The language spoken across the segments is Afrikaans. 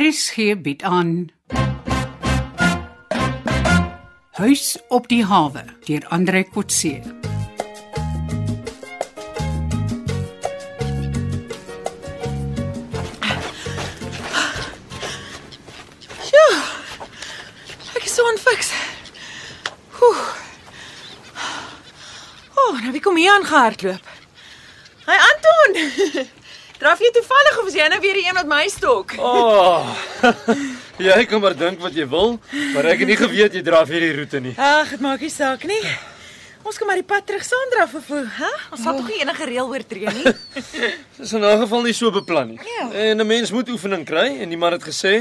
RSG bied aan Huis op die hawe deur Andre Kotse. Sjoe. Ek is so onfiks. Oeh. Oh, nou wie kom hier aan gehardloop? Hi Anton. Draf jy toevallig of is jy nou weer die een wat my stok? Oh. jy kan maar dink wat jy wil, maar ek het nie geweet jy draf hierdie roete nie. Ag, dit maak nie saak nie. Ons kan maar die pad terug Sandra vervoer, hè? Ons sal tog nie enige reël oortree nie. Dis in 'n geval nie so beplan nie. Ja. En 'n mens moet oefening kry en iemand het gesê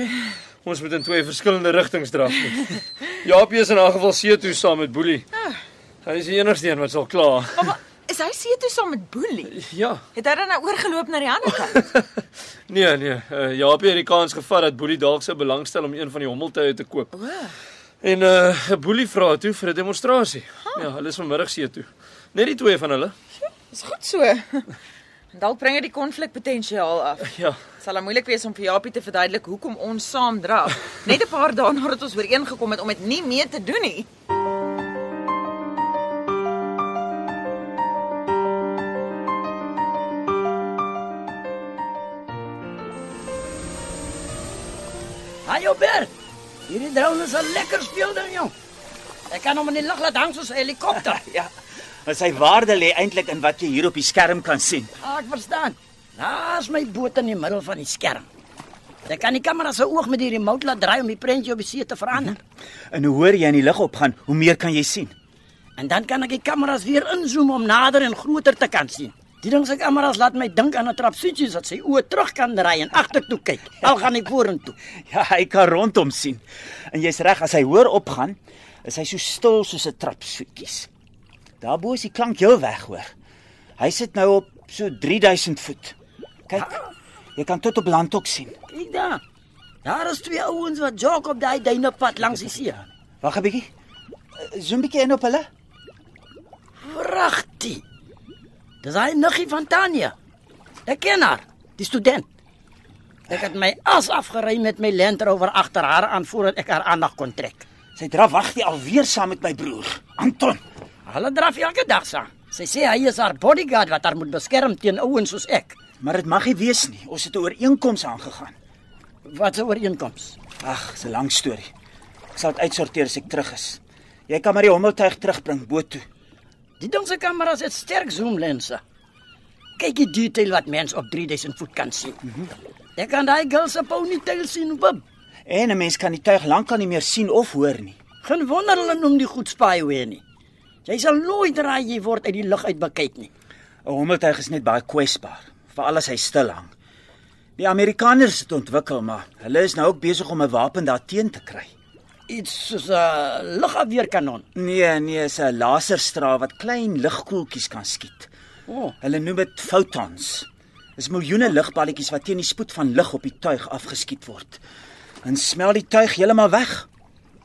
ons moet in twee verskillende rigtings draf. Jaapie is in 'n geval see toe saam met Boelie. Hy is die enigste een wat sal klaar. Mamma, is hy see toe saam met Boelie? Ja. Het hy dan nou oorgeloop na die ander kant? Nee, nee. Uh, Jaapie het die kans gevat dat Boelie dalk sou belangstel om een van die hommeltuie te koop. O. En uh Boelie vra toe vir 'n demonstrasie. Ja, hulle is vanmiddag see toe. Net die twee van hulle. Dis goed so. Dalk bring dit die konflikpotensiaal af. Ja. Het sal dan moeilik wees om vir Japie te verduidelik hoekom ons saam draf. Net 'n paar dae nadat ons ooreengekom het om dit nie meer te doen nie. Hallo Ber. Hierdie drone is 'n lekker speelder, jong. Ek kan hom in die lug laat hang soos 'n helikopter. Ja. Maar sy waarde lê eintlik in wat jy hier op die skerm kan sien. ah, ek verstaan. Daar's my boot in die middel van die skerm. Jy kan die kamera se oog met die remote laat draai om die prentjie op die see te verander. En hoe hoër jy in die lug opgaan, hoe meer kan jy sien. En dan kan ek die kameras weer inzoom om nader en groter te kan sien. Die ding se kameras laat my dink aan 'n trapsietjie dat sy oë terug kan draai en agtertoe kyk. Al gaan hy vorentoe. Ja, hy kan rondom sien. En jy's reg, as hy hoër opgaan, is hy so stil soos 'n trapsoetjies. Daarbo is die klank heel weg, hoor. Hy sit nou op so 3000 voet. Kyk. Jy kan tot op land ook sien. Kyk daar. Daar is twee ouens wat jog op daai duinepad langs die see. Wag 'n bietjie. Eh, Zoom 'n bietjie in op hulle. Pragtig. Dis hy niggie van Tanya. Ek ken haar, die student. Ek het my as afgery met my Land Rover agter haar aan voordat ek haar aandag kon trek. Sy draf wag jy alweer saam met my broer, Anton. Hulle draf elke dag saam. Sy sê hy is haar bodyguard wat haar moet beskerm teen ouens soos ek. Maar dit mag nie wees nie. Ons het 'n ooreenkoms aangegaan. Wat 'n ooreenkoms. Ag, dis 'n lang storie. Ek sal dit uitsorteer as ek terug is. Jy kan maar die hommeltuig terugbring boot toe. Die ding se kameras het sterk zoomlense. Kyk die detail wat mens op 3000 voet kan sien. Ek kan daai girl se ponytail sien, bub. En 'n mens kan die tuig lankal nie meer sien of hoor nie. Geen wonder hulle noem die goed spyway nie. Jy sal nooit raai jy word uit die lug uit bekyk nie. 'n Hommeltuig is net baie kwesbaar, veral as hy stil hang. Die Amerikaners het ontwikkel, maar hulle is nou ook besig om 'n wapen daarteen te kry. Iets soos eh, 'n lugafweerkanon. Nee, nee, is 'n laserstraal wat klein ligkoeltjies kan skiet. O, oh, Hulle noem dit photons. Dis miljoene ligballetjies wat teen die spoed van lig op die tuig afgeskiet word. En smel die tuig heeltemal weg.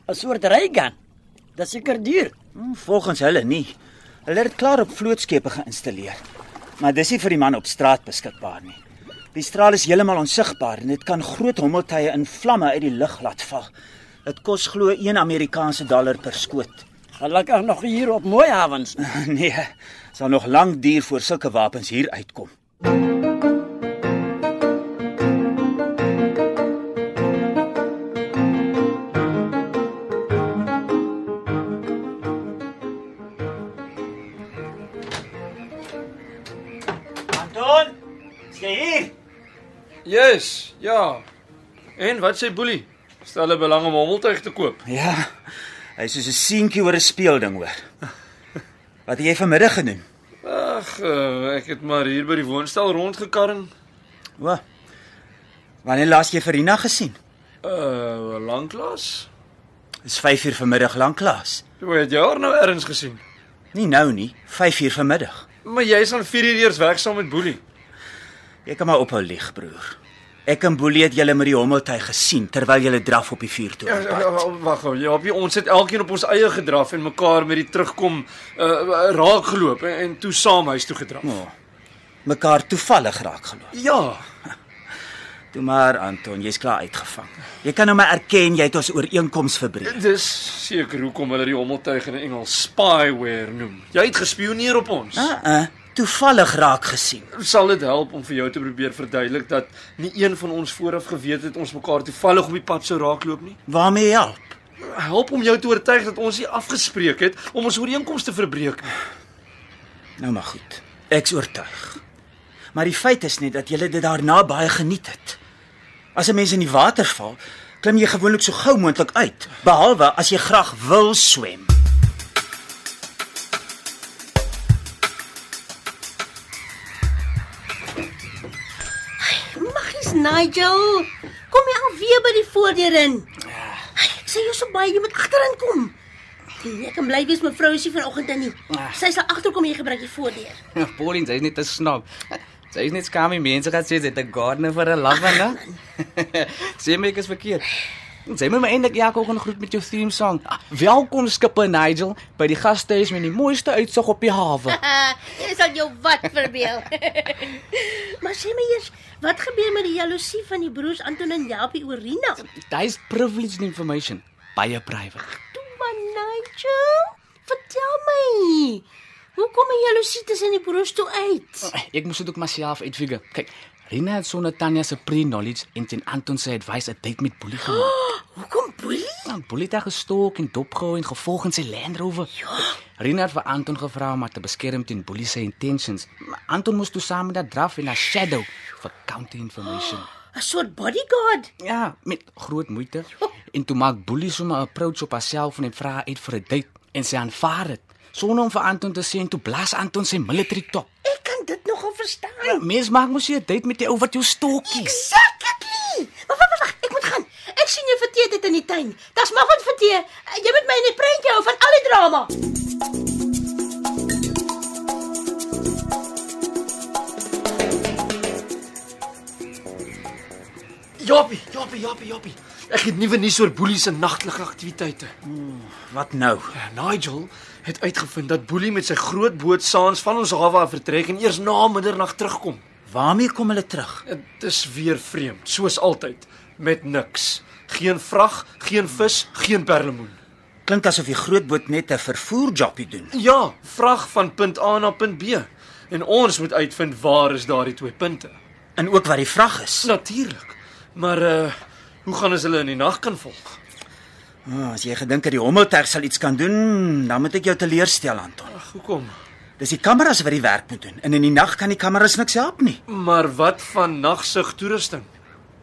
'n soort raygun. Dis seker duur. Hm, Volgens hulle nie. Hulle het dit klaar op vlootskepe geïnstalleer. Maar dis nie vir die man op straat beskikbaar nie. Die straal is heeltemal onsigbaar en dit kan groot hommeltuie in vlamme uit die lug laat val. Dit kos glo 1 Amerikaanse dollar per skoot. Gelukkig nog hier op mooi hawens. Nee, sal nog lank duur voor sulke wapens hier uitkom. Anton, is jy hier? Yes, ja. En wat sê Boelie? Stel hulle belang om 'n hommeltuig te koop? Ja. Hy is soos 'n seentjie oor 'n speelding hoor. Wat het jy vanmiddag gedoen? Ag, eh, ek het maar hier by die woonstel rondgekarring. O. Wanneer laas jy Verina gesien? Uh, lanklaas. Dis 5uur vanmiddag lanklaas. Jy het jou haar nou ergens gesien. Nie nou nie, 5uur vanmiddag. Maar jy's aan 4 uur eers weg saam met Boelie. Jy kan maar ophou lieg, broer. Ek en Boelie het julle met die hommeltuig gesien terwyl julle draf op die Ja, vuurtoren. ja, wag gou. Ja, op- ons het elkeen op ons eie gedraf en mekaar met die terugkom uh, raak geloop en, en toe saam huis toe gedraf. Oh, mekaar toevallig raak geloop. Ja. Toe maar Anton, jy's klaar uitgevang. Jy kan nou maar erken jy het ons ooreenkoms verbreek. Ja, Dis seker hoekom hulle die hommeltuig in Engels spyware noem. Jy het gespioneer op ons. Uh, uh, toevallig raak gesien. Sal dit help om vir jou te probeer verduidelik dat nie een van ons vooraf geweet het ons mekaar toevallig op die pad sou raakloop nie? Waarmee help? Help om jou te oortuig dat ons nie afgespreek het om ons ooreenkomste te verbreek nie. Nou maar goed. Ek's oortuig. Maar die feit is net dat jy dit daarna baie geniet het. As 'n mens in die water val, klim jy gewoonlik so gou moontlik uit, behalwe as jy graag wil swem. Maggies Nigel, kom jy alweer by die voordeur in? Ja. Ai, Ek sê jou so baie jy moet agterin kom. Jy kan bly wees mevrou Sy vanoggend dan nie. Ja. Sy sal agterkom jy gebruik die voordeur. Pauline, sy's net 'n snob. Sy's net skaam die mense gaan sê sy het 'n gardener vir 'n love en hè. Sê my ek is verkeerd. Sê my maar eintlik ja, ook 'n groet met jou theme song. Ah, Welkom skipper Nigel by die gastehuis met die mooiste uitsig op die hawe. Ah, jy sal jou wat verbeel. maar sê my eers, wat gebeur met die jaloesie van die broers Anton en Japie oor Rina? Dit is privileged information, baie private. Toe maar Nigel, vertel my. Hoe kom die jaloesie tussen die broers toe uit? Ek moes dit ook myself uitfigure. Kyk, Rina het sonder Tanya se pre-knowledge en ten Anton se advice 'n date met Boelie gemaak. Nou, Hoekom boelie? Aan Bolita gestok en dopgehou en gevolg in sy Land Rover. Ja. Renard vir Anton gevra om haar te beskerm teen Boelie se intentions. Maar Anton moes toe saam met haar draf en haar shadow vir counter information. 'n Soort bodyguard. Ja, met groot moeite. En toe maak Boelie sommer 'n approach op haarself en hy vra haar uit vir 'n date en sy aanvaar dit sonder om vir Anton te sê en toe blaas Anton sy military top. Ek kan dit nogal verstaan. Ja, mens maak mos nie 'n date met die ou wat jou stokkie. Exactly. Wag, wag, wag, ek moet gaan. Ek sien jou vertee dit in die tuin. Das mag ons vertee. Jy moet my in die prentjie hou van al die drama. Japie, Japie, Japie, Japie. Ek het nuwe nuus oor Boelie se nagtelike aktiwiteite. Wat nou? Ja, Nigel het uitgevind dat Boelie met sy groot boot saans van ons hawe af vertrek en eers na middernag terugkom. Waarmee kom hulle terug? Dit is weer vreemd, soos altyd, met niks. Geen vrag, geen vis, geen perlemoen. Klink asof die grootboot net 'n vervoerjoppie doen. Ja, vrag van punt A na punt B. En ons moet uitvind waar is daardie twee punte. En ook wat die vrag is. Natuurlik. Maar uh hoe gaan ons hulle in die nag kan volg? Oh, as jy gedink het die hommeltuig sal iets kan doen, dan moet ek jou teleurstel, Anton. Ag, hoekom? Dis die kameras wat die werk moet doen. En in die nag kan die kameras niks help nie. Maar wat van nagsig toerusting?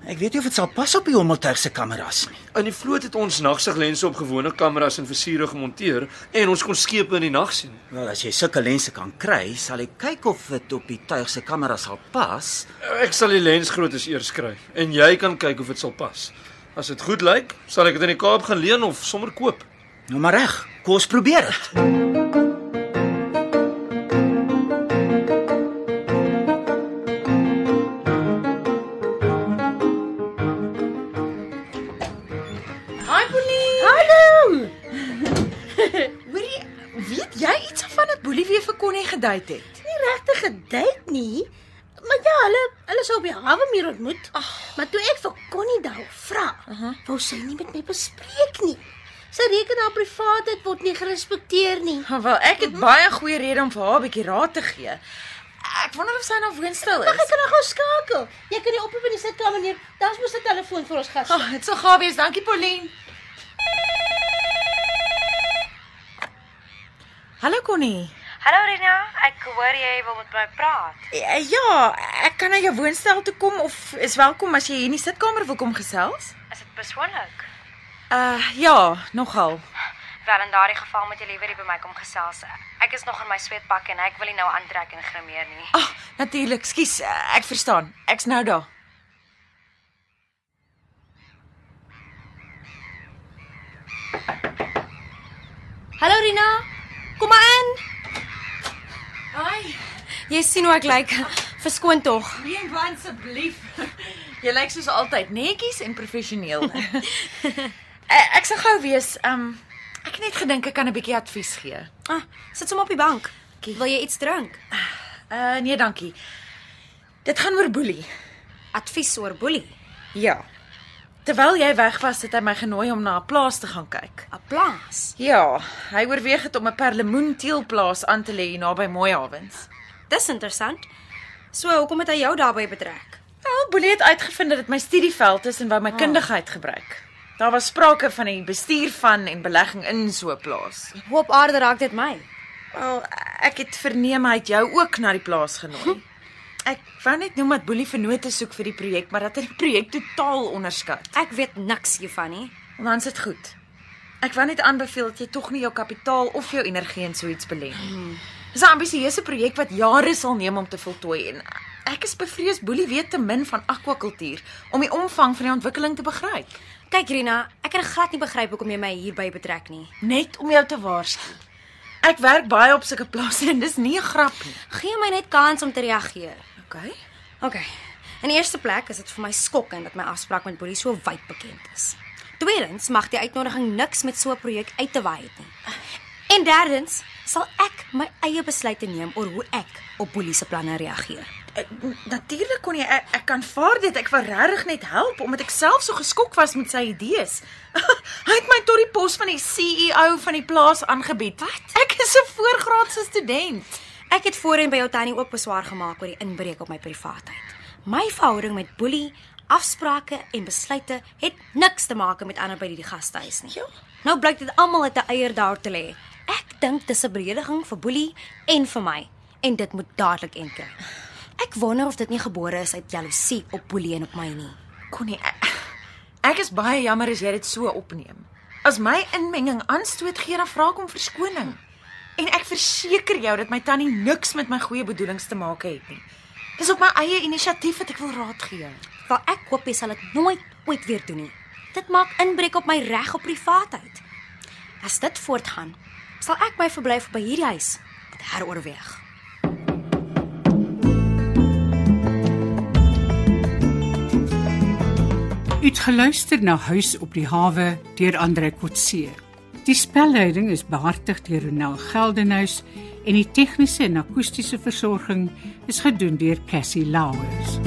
Ek weet nie of dit sal pas op die hommeltuig se kameras nie. In die vloot het ons nagsiglense op gewone kameras en versiere gemonteer en ons kon skepe in die nag sien. Wel, Nou, as jy sulke lense kan kry, sal ek kyk of dit op die tuig se kamera sal pas. Ek sal die lensgroottes eers kry en jy kan kyk of dit sal pas. As dit goed lyk, sal ek dit in die Kaap gaan leen of sommer koop. Nou maar reg, kom ons probeer dit. Hi Pauline. Hallo. Hoorie, weet jy iets van dat Boelie weer vir Connie gedate het? Nie regtig gedate nie. Maar ja, hulle hulle sou op die hawe meer ontmoet. Ach. Maar toe ek vir Connie daar vra, uh -huh. wou sy nie met my bespreek nie. Sy reken haar privaatheid word nie gerespekteer nie. Wel, ek het baie goeie rede om vir haar 'n bietjie raad te gee. Ek wonder of sy nou woonstel Mag ek is. kan nou gaan skakel? Jy kan nie oproep in die sitkamer neem. Daar's mos 'n telefoon vir ons gas. Ag, dit sal gaaf wees. Dankie Pauline. Hallo Connie. Hallo Rina, ek hoor jy wil met my praat. Eh, Ja, ek kan na jou woonstel toe kom of is welkom as jy hier in die sitkamer wil kom gesels. Is dit persoonlik? Uh ja, nogal. Wel in daardie geval moet jy liewer hier by my kom gesels. Ek is nog in my sweetpak en ek wil nie nou aantrek en grimeer nie. Ag, natuurlik. Skus, eh, Ah, ek verstaan. Ek's nou daar. Hallo Rina. Kom maar in. Hi, Jy sien hoe ek lyk. Verskoon tog. Rien, asseblief. Jy lyk soos altyd netjies en professioneel. Eh, ek sal gou wees. Um ek het net gedink ek kan 'n bietjie advies gee. Ah, sit sommer op die bank. Wil jy iets drink? Uh nee, dankie. Eh, Dit gaan oor boelie. Advies oor boelie. Ja. Terwyl jy weg was, het hy my genooi om na 'n plaas te gaan kyk. 'n Plaas. Ja, hy oorweeg het om 'n perlemoenteelplaas aan te lê hier naby Mooihavens. Dis interessant. So hoekom het hy jou daarbey betrek? Wel, Boelie het uitgevind dat dit my studieveld is en wou my kundigheid gebruik. Daar was sprake van die bestuur van en belegging in so 'n plaas. Hoe op aarde raak dit my? Wel, ek het verneem hy het jou ook na die plaas genooi. Ek wou net noem dat Boelie vennote soek vir die projek, maar dat hy die projek totaal onderskat. Ek weet niks hiervan nie. En dan is dit goed. Ek wou net aanbeveel dat jy tog nie jou kapitaal of jou energie in so iets belê nie. Dis 'n ambisieuse projek wat jare sal neem om te voltooi en ek is bevrees Boelie weet te min van akwakultuur om die omvang van die ontwikkeling te begryp, Kyk Rina, ek kan glad nie begryp hoekom jy my hierby betrek nie. net om jou te waarsku. Ek werk baie op sulke plase en dis nie 'n grap nie. Gee my net kans om te reageer. Okay. OK. In die eerste plek is dit vir my skokkend dat my afspraak met Boelie so wyd bekend is. Tweedens mag die uitnodiging niks met so 'n projek uit te waai het nie. En derdens sal ek my eie besluite neem oor hoe ek op Boelie se planne reageer. Ek- Eh, Natuurlik kon jy ek, ek kan vaar dit ek wou regtig net help omdat ek self so geskok was met sy idees. Hy het my tot die pos van die CEO van die plaas aangebied. Wat? Ek is 'n voorgraadse student. Ek het voorheen by jou tannie ook beswaar gemaak oor die inbreuk op my privaatheid. My verhouding met Boelie, afsprake en besluite het niks te maak met ander by die gastehuis nie. Ja. Nou blyk dit almal het 'n eier daar te lê. Ek dink dis 'n belediging vir Boelie en vir my en dit moet dadelik end kry. Ek wonder of dit nie gebore is uit jaloesie op Boelie en op my nie. Connie, ek, ek is baie jammer as jy dit so opneem. As my inmenging aanstoot gee, dan vra ek om verskoning. En ek verseker jou dat my tannie niks met my goeie bedoelings te maak het nie. Dis op my eie inisiatief wat ek wil raad gee. Wel ek hoop jy sal dit nooit ooit weer doen nie. Dit maak inbreuk op my reg op privaatheid. As dit voortgaan, sal ek my verblyf by hierdie huis heroorweeg. Uitgeluister na Huis op die hawe deur Andre Kotse. Die spelleiding is behartig deur Ronel Geldenhuys en die tegniese en akoestiese versorging is gedoen deur Cassie Lauers.